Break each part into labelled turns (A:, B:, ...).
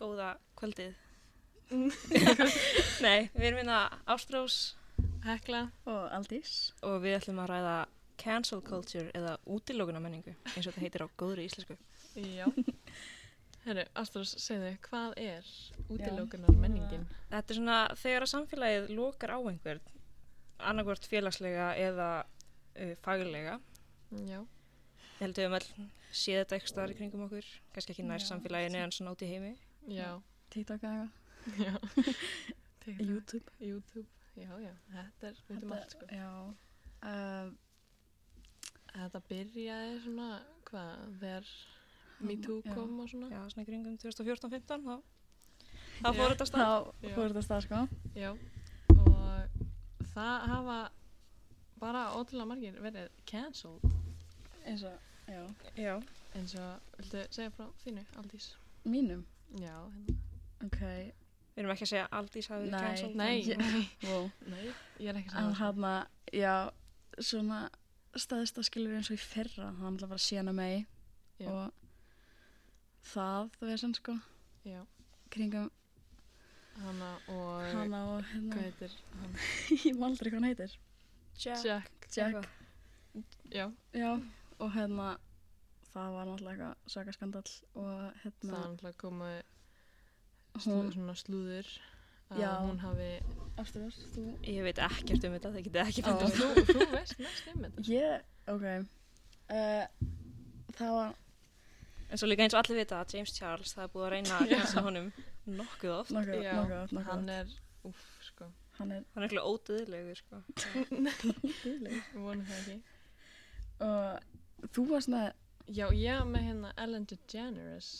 A: góða kvöldið. Nei, við erum hérna Ástrós
B: Hekla.
C: Og Aldís.
A: og við ætlum að ræða cancel culture eða útilókuna menningu eins og þetta heitir á góðri íslensku.
B: Já. Herru, Ástrós, segðu, hvað er útilókunar menningin?
A: Þetta er svona þegar að samfélagið lokar á einhvern, annarkvort félagslega eða uh, faglega.
B: Já.
A: Ég held við um all séð þetta ekki staðar í kringum okkur, kannski ekki næst
C: Já.
A: samfélaginu en svona út í heimi.
B: Já.
C: TikTok eða eitthvað.
B: Já. TikTok,
C: YouTube.
B: YouTube. Já, já. Þetta er, við veitum allt, sko.
C: Já. Uh,
B: Þetta byrjaði svona, hvað, þegar Me Too
C: Já.
B: kom og svona.
A: Já, svona í kringum 2014-15 þá, þá
B: Já.
A: fór þetta af
C: þá
A: stað.
B: Já.
C: fór þetta af stað sko.
B: Já. Og það hafa bara ótrúlega margir verið cancelled.
C: Eins og, já.
A: Já.
B: En svo, viltu segja frá þínu, Aldís?
C: Mínum.
B: Já, hérna.
C: Ok.
A: Við erum ekki að segja að Aldís hafi verið
C: Nei.
A: cancelled.
B: Nei,
C: ég-
B: nei,
C: Wow.
B: nei, ég er ekki að
C: En
B: segja það.
C: hann að, já, svona staðist að skilur eins og í fyrra. Hann ætla bara að sína mig.
B: Já.
C: Og það, þú veist hann sko.
B: Já,
C: Kringum
B: hana og...
C: hana og
B: Hvað
C: hérna.
B: heitir hann?
C: ég má aldrei hvað hann heitir.
A: Jack.
B: Jack.
C: Jack.
A: Eitthvað.
B: Já,
C: Já, og hérna það var náttúrulega eitthvað sakaskandall og
B: það var
C: hérna
B: náttúrulega komið
C: hún,
B: slu, svona slúður að
C: Já.
B: hún hafi...
C: afturvars, þú
A: Ég veit ekkert um þetta, það getið ekki
C: Ó.
A: fundið.
B: Þú, þú veist mest um þetta.
C: Ég, oh ok uh, það var
A: En svo líka eins og allir vita að James Charles, það er búið að reyna að
B: Já.
A: kynsa honum nokkuð oft.
C: nokkuð,
B: Já,
C: nokkuð, nokkuð
B: Hann er, uff, sko,
C: hann er
A: Hann er eitthvað ódöðlegur, sko.
C: dýrleg
B: við vonum það ekki.
C: og þú varst með
B: Já, ég með hérna Ellen DeGeneres,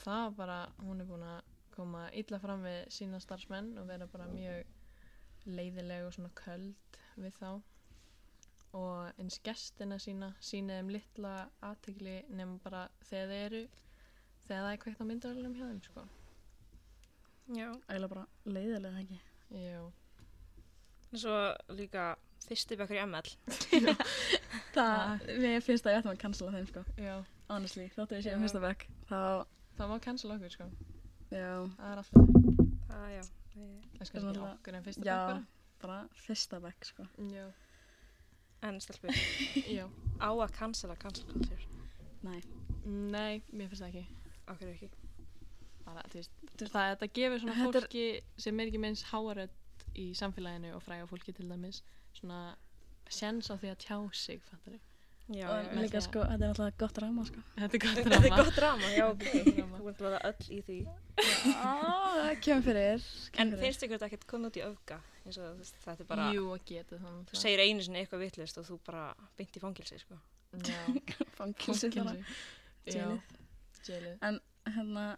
B: það var bara, hún er búin að koma illa fram við sína starfsmenn og vera bara mjög leiðileg og svona köld við þá. Og eins gestina sína, sína þeim litla aðtegli nefnum bara þegar þeir eru, þegar það er kveikt á myndavælunum hjá þeim, sko.
A: Já.
C: eiginlega bara leiðilega ekki
B: Já.
A: En svo líka fyrsti bekkur í ML.
C: það, mér finnst að ég ættum að cancela þeim sko
B: Já,
C: honestly, þáttu ég séum
B: Já.
C: fyrsta bekk þá,
B: það má cancel okkur sko
C: já,
B: Það er alltaf
A: Það, já. eh,
B: Það er kannski ekki
C: náttúrulega-
B: okkur en fyrsta
C: já
B: bekk
C: bara fyrsta bekk sko
B: bara Já,
A: En stelpur,
B: já
A: á að cancela cancel culture.
C: nei,
B: Nei, mér finnst það ekki
A: Okkur ekki.
B: bara, þú veist,
C: Þú-
B: það, þetta gefur svona
C: Þetta er-
B: fólki sem er ekki minns háarödd í samfélaginu og fræga fólki til dæmis svona sjens á því að tjá sig fattar ég
A: Já,
C: og
A: já, já.
C: líka sko, þetta er alltaf gott ráma sko
B: Þetta er gott
A: Þetta er
B: drama
A: gott drama, já, ok.
B: Þetta er gott drama.
A: Þú vant að verða öll í því.
C: Ah, það kemur fyrir
A: En
C: kemur fyrir.
A: finnst ykkur þetta ekkert komið út í öfga? Eins og þú veist, þetta er bara,
B: Jú, og getur það
A: þú
B: náttúrulega.
A: segir einu sinni eitthvað vitlist og þú bara beint í fangilsi, sko.
B: Já,
C: Fangelsi bara. Jailið.
B: Jælið
C: hérna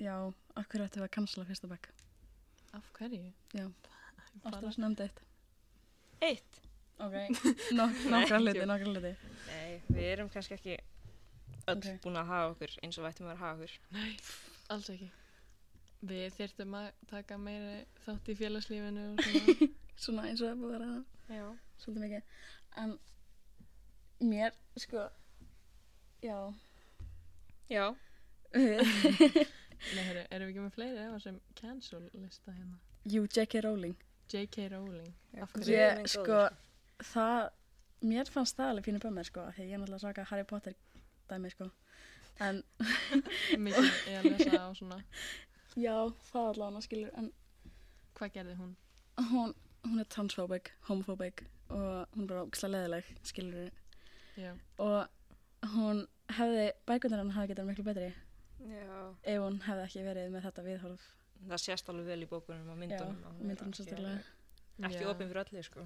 C: já, akkur ættum við að cancela fyrsta bekk
B: Af hverju?
C: Já.
B: Bara,
C: Ástæðast nefndi eitt
A: Eitt.
C: ok, Nok, nokkra
A: Nei,
C: hluti,
A: jú.
C: nokkra hluti
A: Nei, við erum kannski ekki öll
C: Ókei.
A: búin að hafa okkur eins og við ættum að vera að hafa okkur.
B: nei, alls ekki Við þyrftum að taka meira þátt í félagslífinu og svona
C: svona eins og það er búið að ræða
A: Já.
C: svolítið mikið en mér, sko já
A: Já.
C: við-
B: Nei, herru, erum við ekki með fleiri eða sem cancel lista hérna?
C: jú, J.K. Rowling
B: J.K. Rowling. Af hverju?
A: guð
C: ég,
A: minn
C: sko,
A: góður.
C: það mér fannst það alveg fínu bömmir, sko af því ég er náttúrulega að saka Harry Potter dæmi, sko en
B: Mikið ég að lesa á svona,
C: já, það allavega skilur en
B: hvað gerði hún?
C: hún, hún er transphobic, homophobic og hún er bara ógislega leðileg, skilur
B: Já,
C: og hún hefði, bækundir hann hafi getað miklu betri
A: Já.
C: ef hún hefði ekki verið með þetta viðhorf
A: Það sést alveg vel í bókunum og myndunum.
C: Já,
A: að hún er
C: myndunum
A: ekki
C: sérstaklega.
A: alveg- Ekki
B: Já.
A: opinn fyrir öllu, sko.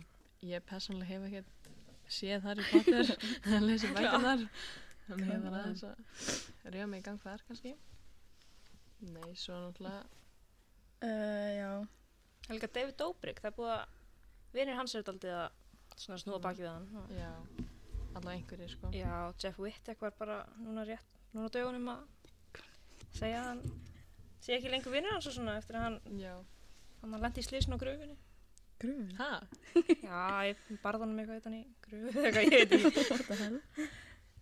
B: ég persónulega hef ekkert séð Harry Potter, að lesa bækunar. Þannig ég
C: Come
B: var
C: on.
B: aðeins að ríða mig í gang þar kannski. Nei, svo náttúrulega,
C: uh, Já,
A: Það er líka David Dobrik, það er búið að vinir hans er daldið að svona snúa
B: Mm.
A: baki við hann.
B: já, allavega einhverjir sko.
A: Já, Jeff Wittek var bara núna rétt, núna á dögunum að segja að hann sé ekki lengur vinir hans og svona eftir að hann,
B: Já.
A: hann lendi í slísn á gröfinni.
C: grúin
B: Ha?
A: Já, ég barði honum eitthvað utan í gröfu, eitthvað ég veit ekki.
C: What the hell?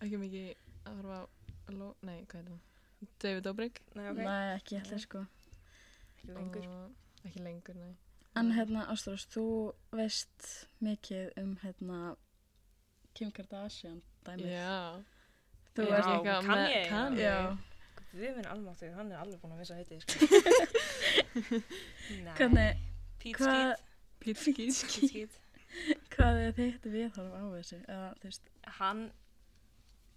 B: Ekki mikið að horfa á, ló, nei, hvað er það? David Dobrik
A: Nei, ok.
C: Nei, ekki allir sko.
A: Ekki lengur.
B: og ekki lengur, nei
C: En hérna, Ástrós, þú veist mikið um hérna Kim Kardashian dæmið.
B: Já,
C: Þú
A: Já,
C: ert
A: hún
B: líka
A: kann
B: með-
A: ég.
B: kann
C: Já.
B: ég.
A: Við minn almáttið, hann er alveg búin að missa heitið, sko. Nei.
C: Hvernig,
A: Pít
C: hvað-
A: skít,
B: Pítskís
A: pít skít.
C: hvað er þitt viðhorf á þessu? Eða, þú veist,
A: Hann,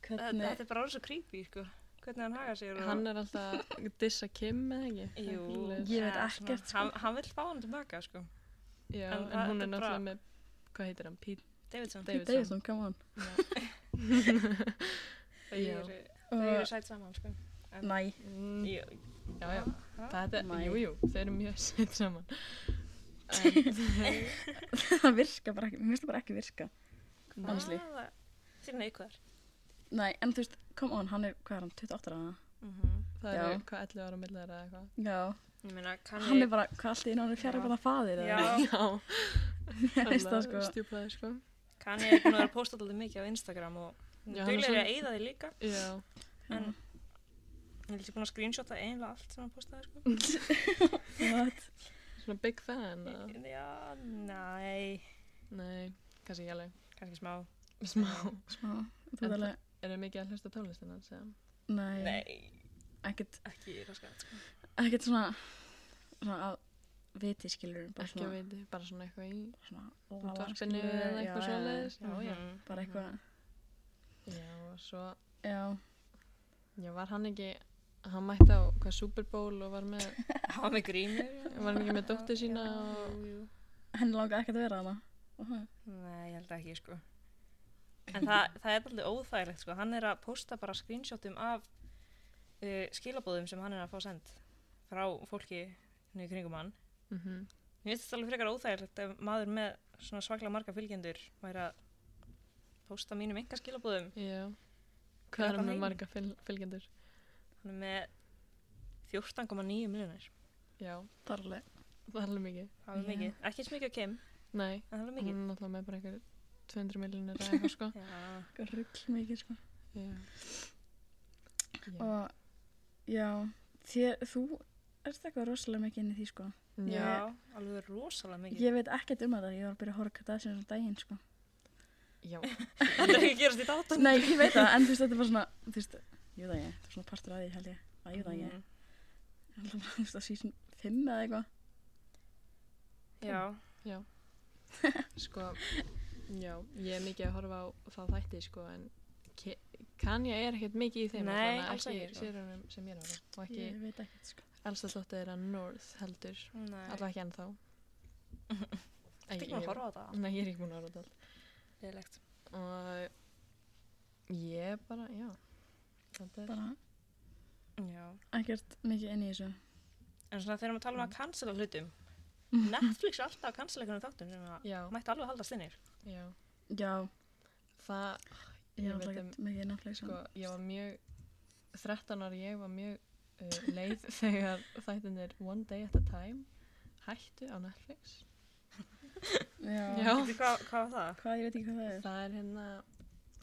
A: þetta
C: hvernig,
A: þetta er bara orðið svo creepy, sko. Hvernig hann haga sér og...
B: Hann er alltaf að dissa Kim eða ekki
A: Jú.
B: Eitthvað svoleiðis.
C: Ég veit
A: eða
C: ekkert,
A: svona,
C: sko.
A: Hann, hann vil fá hann tilbaka, sko.
B: Já,
A: En
B: en,
A: það- þetta
B: hún er
A: er
B: náttúrulega
A: bara-
B: með Hvað heitir hann? Pít
A: Davidson.
B: Davidson.
C: Davidson, come on.
A: Þau
B: Já.
A: eru, þau eru
C: Og,
A: sætt saman, sko. En-
C: næ,
B: mm,
A: Jú,
B: Já, já Það er,
C: Mæ.
B: jú, jú, þau eru mjög sett saman En
C: það virka bara ekki, mér finnst það bara ekki virka. Honestly.
A: Hvaða- Ah, Þeir eru neikvæðar.
C: Nei, en þú veist, come on, hann er, hvað er hann, 28 ára?
B: það
C: Já.
B: eru hvað 11 ára millir eða eitthvað
C: Já.
A: Mhm. Ég meina, kann
C: Hann
A: ég...
C: er bara, hvað allt í einu hann er fjara
A: Já.
C: bara faðir? eða?
A: Já.
B: Já,
C: Mér finnst það sko.
B: stjúpaði sko
A: Kanye er búin að vera að posta alltaf mikið á Instagram og
B: Já, hann er
A: duglegri
B: svona-
A: að eyða því líka
B: Já,
A: en ég er líka búin að screenshota eiginlega allt sem hann postaði sko.
C: What?
B: svona big fan eða?
A: Hérna. Já, næ,
B: Nei, kannski ekki alveg
A: kannski smá
B: Smá
C: Smá, þú
B: En
C: veist alveg,
B: Eru mikið að hlusta á tónlistina hans eða?
C: nei,
A: Nei,
C: ekkert
A: ekki raskat sko.
C: ekkert svona, svona að viti skilur bara
B: Ekki að
C: svona,
B: veit, bara svona eitthvað í
C: svona lala,
B: útvarpinu
C: skilurðu,
B: eða
C: já,
B: eitthvað
C: já,
B: svoleiðis Mm. Já, já
A: Mhm.
C: bara eitthvað
B: Já, og svo
C: já,
B: Já, var hann ekki, hann mætti á hvað Super Bowl og var með,
A: Hann var með grímur
B: var hann ekki með dóttur sína
A: Já,
B: og
A: jú, jú.
C: henni langar ekkert að vera hana Aha.
A: Nei, ég held ekki sko En það, það er alltaf óþægilegt sko Hann er að posta bara screenshotum af uh, skilabóðum sem hann er að fá send frá fólki niður kringum hann
B: Mhm.
A: Mér finnst þetta alveg frekar óþægilegt ef maður með svona svaklega marga fylgjendur væri að posta mínum enga skilabóðum
B: Já Hvað er
A: það
B: hann með
A: heim?
B: marga fyl, fylgjendur?
A: hann er með 14,9 miljonir
B: Já,
C: það er alveg
B: það er alveg mikið
A: það er
C: Já.
A: mikið, ekki eins mikið að kem
B: Nei,
A: en það er
B: hann
A: mikið
B: er náttúrulega með bara eitthvað 200 miljonir eða eitthvað sko
A: Já,
C: eitthvað rugl mikið sko
B: Já Já,
C: og já, þér, þú ert eitthvað rosalega mikið inn í því sko
A: já
B: já.
A: alveg rosalega mikið
C: ég veit ekkert um þetta, ég var að byrja að horfa hvað það sem daginn sko
B: já.
A: það er ekki að gerast í dátum
C: nei, ég veit það, en þú veist þetta var svona þú veist, ég veit það ekki, það var svona partur að því held ég að ég veit það ekki,
A: Mm,
C: Ég held að bara, þú veist að síðan fimm eða eitthvað
A: já,
B: Sko, já, ég er mikið að horfa á það þætti sko en Ke- Kanye er ekkert mikið í þeim
A: Nei,
B: allavega,
A: alls ekki,
B: ekki
A: sko.
B: sérunum sem ég er að horfa og ekki
C: ég veit ekkert sko
B: Elsa Lóttir að North heldur
A: nei
B: Alltaf ekki ennþá
A: Þetta er ekki maður að horfa á það
B: Nei, ég er ekki búin að horfa á
A: Leðilegt
B: þetta Og ég bara, já Þetta er
C: bara
A: Já
C: ekkert mikið inn í þessu
A: En svona þegar maður tala um
C: Mm.
A: að cancela hlutum Netflix er alltaf að cancela einhvern þáttum sem að
B: Já,
A: mætti alveg haldast innir
B: já
C: Já,
B: Það,
C: ég
B: ég
C: er
B: veit
C: hérna
B: um
C: alltaf ekkert mikið Netflix
B: Sko, ég var mjög 13 ára ég var mjög uh, leið þegar þættinir One Day at a Time hættu á Netflix
C: Já.
A: Veitir
B: Já.
A: hvað, hvað var það?
C: Hvað, ég veit ekki hvað það er
B: Það er hérna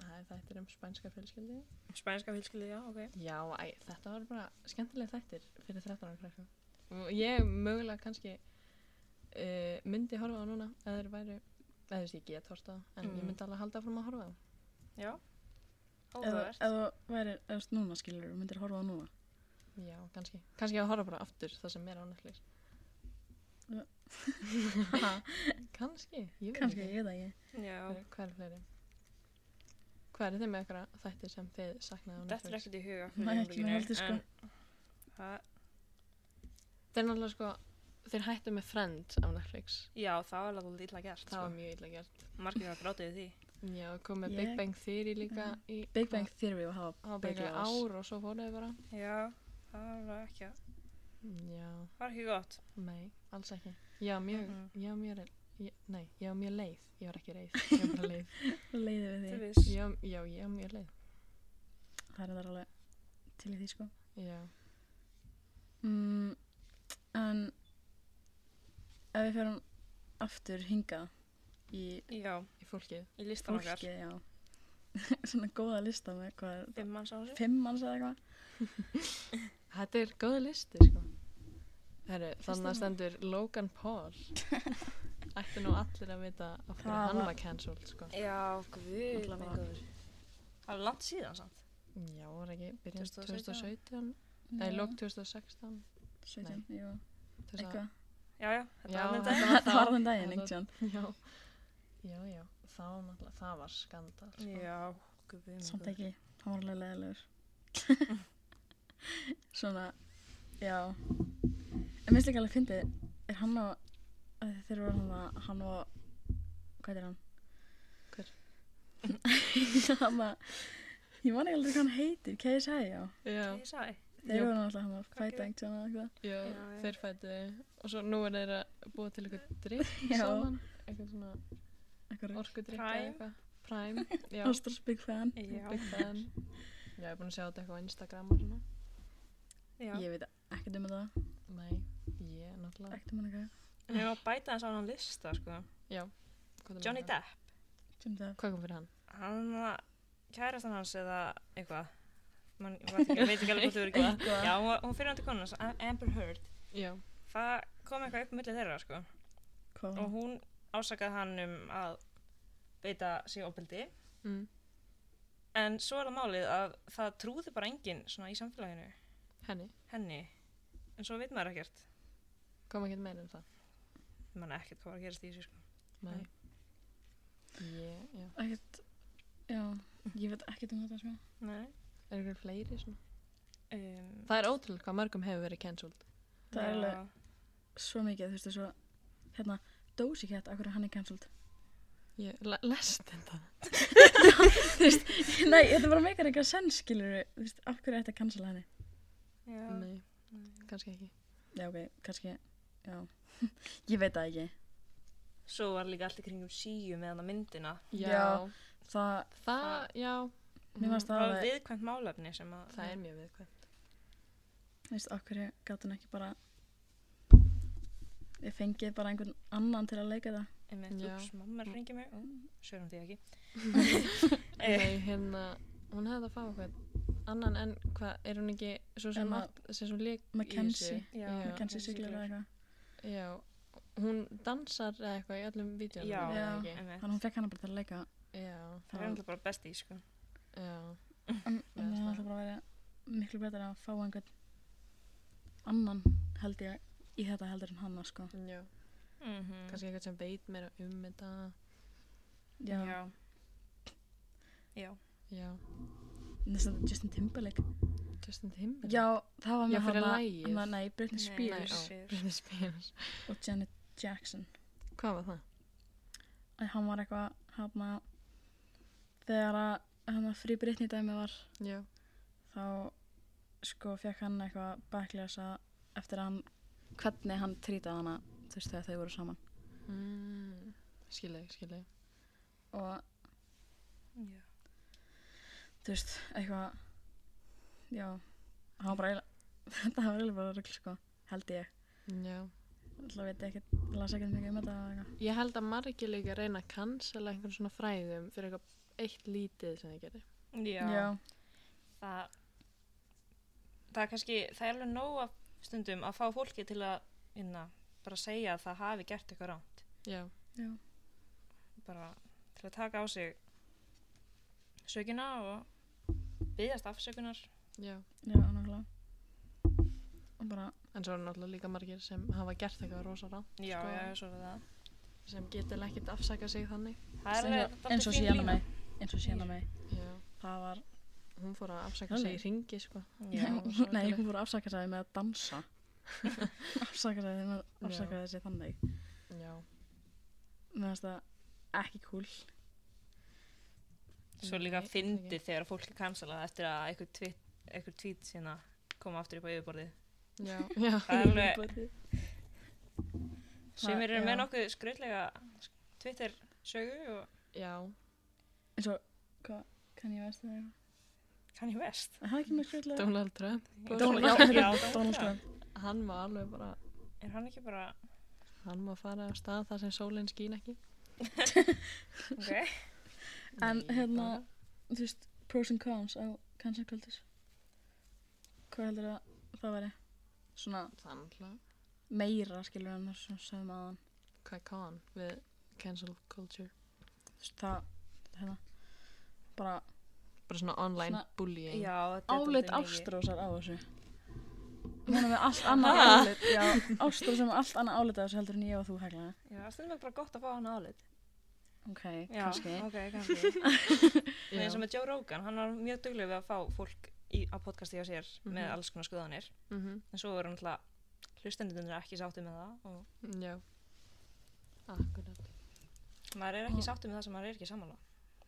B: Það er þættir um spænska fjölskyldi
A: Spænska fylskildi, já, ok
B: Já, æ, þetta var bara skemmtilega þættir fyrir 13 ára krakka. Og Ég mögulega kannski uh, myndi horfa á núna eða þeir væru, eða þú veist ég get horfa á en
A: Mm.
B: ég myndi alveg halda fram að horfa á.
A: Já
C: Eða
A: Áhugavert
C: eða þú væri, eða þú núna skilur, þú myndir horfa á núna
B: Já, kannski. Kannski að horfa bara aftur það sem er á Netflix.
C: Ja.
B: kannski, ég veit
C: Kannski,
B: ekki.
C: ég veit það ekki
A: Já
B: Hvað er- Hvað er fleiri? Hvað er þið með eitthvað þættir sem þið saknaði á
A: Þetta er
B: Netflix?
A: ekkert í huga
C: Nei, ekki mér heldur, sko.
A: það,
B: Þetta er náttúrulega sko, þeir hættu með Friends á Netflix.
A: Já, það var alveg illa gert
B: Það var
A: sko.
B: mjög illa gert.
A: Margir það grátið því
B: Já, kom með
C: Ég-
B: Big Bang Theory líka í...
C: Big Bang Theory og
B: Það var
C: hafa
B: bara eitthvað ár og svo fóruðu bara.
A: Já, það var ekki
B: Já,
A: Það var ekki gott
B: nei, alls ekki. Já, mjög, mm
A: Mhm.
B: -hmm. já, mjög, já, nei, já, mjög leið. Ég var ekki reið, ég var bara leið.
C: Leiði við
A: Þú
C: því
A: veist
B: Já, já, ég var mjög leið.
C: Það er það alveg til í því sko
B: Já,
C: mm, En Ef við ferum aftur hingað Í
A: Já,
B: í fólkið.
A: í listan okkar
C: fólkið, já svona góða lista með hvað er
A: Fimm manns á þessu.
C: fimm manns eða eitthvað
B: Þetta er góða listi, sko. Herru, þannig
C: Fyrsta
B: að stendur Logan Paul. Ætti nú allir að vita af hverju
C: Það
B: hann
C: var-
B: var cancelled, sko.
A: Já, guð,
C: Alla
A: minn
C: vega.
A: góður. Það er langt síðan samt.
B: Já, var ekki byrjun
A: 2017?
B: 2017? Nei, lók 2016.
C: 17, jú,
B: Þess að-
C: eitthvað
A: Já, já, þetta
B: Já,
A: var mynda.
B: þetta
C: það var
B: þá.
C: þann daginn,
B: Þetta-
C: einhvern tíðan
B: Já, já, já. Þá náttúrulega, það var skandal, sko.
A: Já, guð, minn
C: samt
A: góður.
C: ekki, hann var alveg leðilegur svona já en minnst líka alveg fyndið er hann á að þeir eru hann að hann á hvað er hann?
B: Hver?
C: hann að ég man ekki aldrei hvað hann heitir, KSI já
B: Já,
A: Ég sagði.
C: þeir
B: Jú.
C: eru náttúrulega hann að
A: Hvað
C: fæta
A: gerir-
C: einhvern tíðan eitthvað
B: já,
A: Já, já.
B: þeir fættu og svo nú er þeir að búa til eitthvað drikk
C: Já.
B: saman, eitthvað svona
C: eitthvað
B: orkudrykk eða
A: Prime.
B: eitthvað Prime, já,
C: Ástrós Big Fan
A: Já,
B: Big Fan Já, ég er búin að sjá þetta eitthvað á Instagram og svona
A: já.
C: ég veit ekkert um þetta,
B: Nei, ég náttúrulega
C: ekkert um hann eitthvað
A: Við erum að bæta þess á hann lista, sko.
B: Já, hvað er
A: Johnny
B: það?
A: Depp,
C: Jim Depp
B: Hvað kom fyrir hann?
A: hann kærastan hans eða eitthvað. Man, ég veit ekki, veit ekki alveg hvað þú eru ekki.
C: Eitthvað.
A: Já, hún, var- hún fyrir hann til konu hans, Am- Amber Heard.
B: Já,
A: Það kom eitthvað upp millir þeirra, sko.
C: Hvað
A: Og hún ásakaði hann um að beita sig opildi.
B: mm.
A: En svo er það málið að það trúði bara enginn svona í samfélaginu,
B: henni,
A: henni. En svo veit maður ekkert.
B: kom ekkert meira en það
A: Man ekkert hvað var að gerast í þessu, sko.
B: Nei Ég, já
C: ekkert já, ég veit ekkert um þetta sko
A: Nei.
B: Er ykkur fleiri svona?
A: Um,
B: Það er ótrúlega hvað mörgum hefur verið cancelled
C: það er
A: já.
C: alveg svo mikið, þú veist, svo hérna, Dozy Cat, akkur er hann er cancelled
B: Ég le- lest þetta
C: Nei, þetta bara meikar eitthvað senn, skilur þú veist, af hverju ætti að cancella henni
A: Já.
B: Nei, kannski ekki
C: Já, ok, kannski, já Ég veit það ekki
A: Svo var líka allt í kringum síu með hann myndina.
C: Já. Það,
B: Það, já Mhm.
C: mér fannst
A: Það
C: það
A: var
C: alveg,
A: viðkvæmt málefni sem að...
B: Það er mjög viðkvæmt
C: þú veist, af hverju gat hún ekki bara Ég fengið bara einhvern annan til að leika það
A: Einmitt,
B: Já.
A: ups, mamma er að ringja mig. Sjörum því ekki. Eh,
B: Nei, hérna, hún hefði að fá eitthvað annan en hvað, er hún ekki svo sem,
C: Emma-
B: Matt, sem svo lík
C: Mackenzie,
A: já,
B: Já.
C: Mackenzie Sigler eða eitthvað
B: Já, hún dansar eða eitthvað í öllum vídjónum
A: Já.
B: eða
C: Já.
B: ekki?
A: Einmitt.
C: Þannig hún fekk hana bara til að leika
B: Já,
A: Það er
C: Það
A: alltaf bara besti, sko.
B: já,
C: En
B: Mér
C: en
B: finnst
C: það
B: það.
C: ætla bara að vera miklu betur að fá einhvern annan held ég í þetta heldur en hann sko.
B: já
A: Mm -hmm.
B: Kannski eitthvað sem veit meira um þetta
C: Já,
A: Já. Já.
B: Já,
C: næstum þetta Justin Timberlake.
B: Justin Timberlake
C: Já, það var
B: Já,
C: með
B: fyrir
C: hana-
B: lagið.
C: hana, nei, Britney
A: Nei,
B: Nei,
C: Spears
B: á,
A: Spears.
B: Britney Spears
C: og Janet Jackson.
B: Hvað var það?
C: En hann var eitthvað, hann þegar að hann frí Britney dæmi var,
B: Já,
C: þá sko fekk hann eitthvað bakljósa eftir að hann, hvernig hann trýtaði hana, þú veist, þegar þau voru saman.
B: mm. skilja, skilja
C: Og
A: Já.
C: þú veist, eitthvað já, það var bara eiginlega- þetta var eiginlega bara rögl, sko held ég,
B: Já
C: alltaf veit ég ekkert las ekkert mikið um þetta eða eitthvað
B: Ég held að margir líka reyna að cancela einhvern svona fræðum fyrir eitthvað eitt lítið sem þið gerir.
A: Já. Það, það er kannski, það er alveg nóg að stundum að fá fólki til að, inna, bara segja að það hafi gert eitthvað rámt.
B: Já.
C: já,
A: Bara til að taka á sig sökina og byggjast afsökunar.
B: Já.
C: já, nákvæmlega og bara,
B: En svo eru náttúrulega líka margir sem hafa gert eitthvað rosa rátt
A: Já,
B: Sko.
A: já, svo er það.
B: sem getur ekkert afsaka sig þannig.
A: Það er
C: eins
A: alveg
C: og- eins og
A: dálítið fín
C: síðan að
A: lína.
C: mig eins og hérna síðan að mig,
B: Já.
C: það var
B: Hún fór að afsaka sig
C: Alveg?
B: í ringi sko.
A: Já.
B: svo
C: nei,
B: ekki.
C: hún voru afsakasaði með að dansa afsakasaði með að afsakaði sig þannig
B: Já.
C: mér finnst það ekki cool
A: Svo líka
B: Nei,
A: fyndið þegar fólk er cancellað eftir að einhver tweet, einhver tweet sína koma aftur upp á yfirborðið.
B: Já. Já.
A: Það er alveg,
C: Það-
A: sem eru með
C: já.
A: nokkuð skröldlega Twitter sögu og
B: Já.
C: eins og, hvað, kann ég veist það eitthvað?
A: Kanye West.
C: er það ekki mjög skjöldlega?
B: Donald Trump.
C: Donald, já,
A: já,
C: Donald, Donald Trump
B: Hann má alveg bara,
A: Er hann ekki bara,
B: hann má fara á stað þar sem sólinn skín ekki.
A: ok,
C: En
B: Nei,
C: hérna,
B: bara-
C: þú veist, pros and cons á cancel culture hvað heldur að það væri svona
B: Þannig að
C: meira skilur en það sem sögum aðan
B: hvað er con við cancel culture?
C: þú veist, það, þetta hérna bara
B: Bara svona online
C: Svona-
B: bullying.
A: Já, þetta er
C: álit
A: dálítið mikið.
C: ástrósar á þessu Núna með allt annað
B: Ha?
C: álit Já, ástrósar með allt annað álit á þessu heldur en ég og þú hegla
A: Já, stundum er bara gott að fá hann álit.
C: Ok,
A: Já,
C: kannski
A: ok, kannski.
B: Já.
A: Nei, eins og með Joe Rogan, hann var mjög dugleg við að fá fólk í, á podcasti á sér með
B: Mhm.
A: alls konar skoðanir
B: Mhm.
A: en svo voru náttúrulega hlustendunir ekki sátti með það og
B: Já. Akkurat.
A: maður er ekki
C: Og-
A: sátti með það sem maður er ekki sammála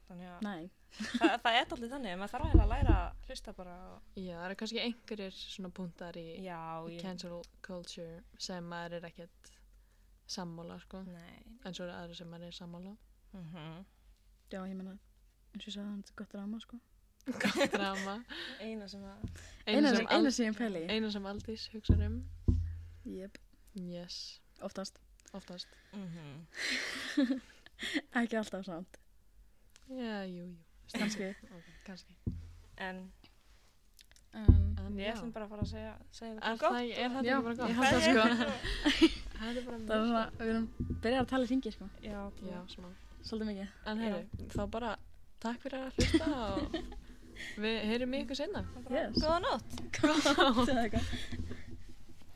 A: þannig að
C: Nei,
A: það, það er alltaf þannig að maður þarf eiginlega að læra að hlusta bara og,
B: Já, það eru kannski einhverjir svona punktar í,
A: já,
B: í
A: ég,
B: cancel culture sem maður er ekkert sammála, sko.
A: nei
B: En svo eru aðra sem maður er sammála.
A: mm
C: já, ég meina eins og ég sagði hann, þetta er gott ráma, sko
B: Gott drama.
A: eina sem að
C: Eina
B: Einu
C: sem, eina sem ég pæli í.
B: eina sem Aldís hugsar um.
C: Jep,
B: Yes,
C: oftast
B: oftast.
A: mm
C: Ekki alltaf samt,
B: Já, jú, jú.
C: kannski
B: Ok, kannski.
A: en
C: En
B: En
A: við
B: já.
A: ætlum bara að fara að segja, segja
B: Er,
A: þetta
B: það, er þetta
C: Já,
B: ekki bara gott?
C: ég held það, sko.
B: Það er bara
C: það var svona, við erum byrjað að tala í hringi, sko
A: já,
B: Já,
A: já.
B: svona.
C: Svolítið mikið
B: En heyrðu, þá bara takk fyrir að hlusta og við heyrum í ykkur senna.
A: Bara,
C: Yes.
A: góða nótt
C: Góð Það er eitthvað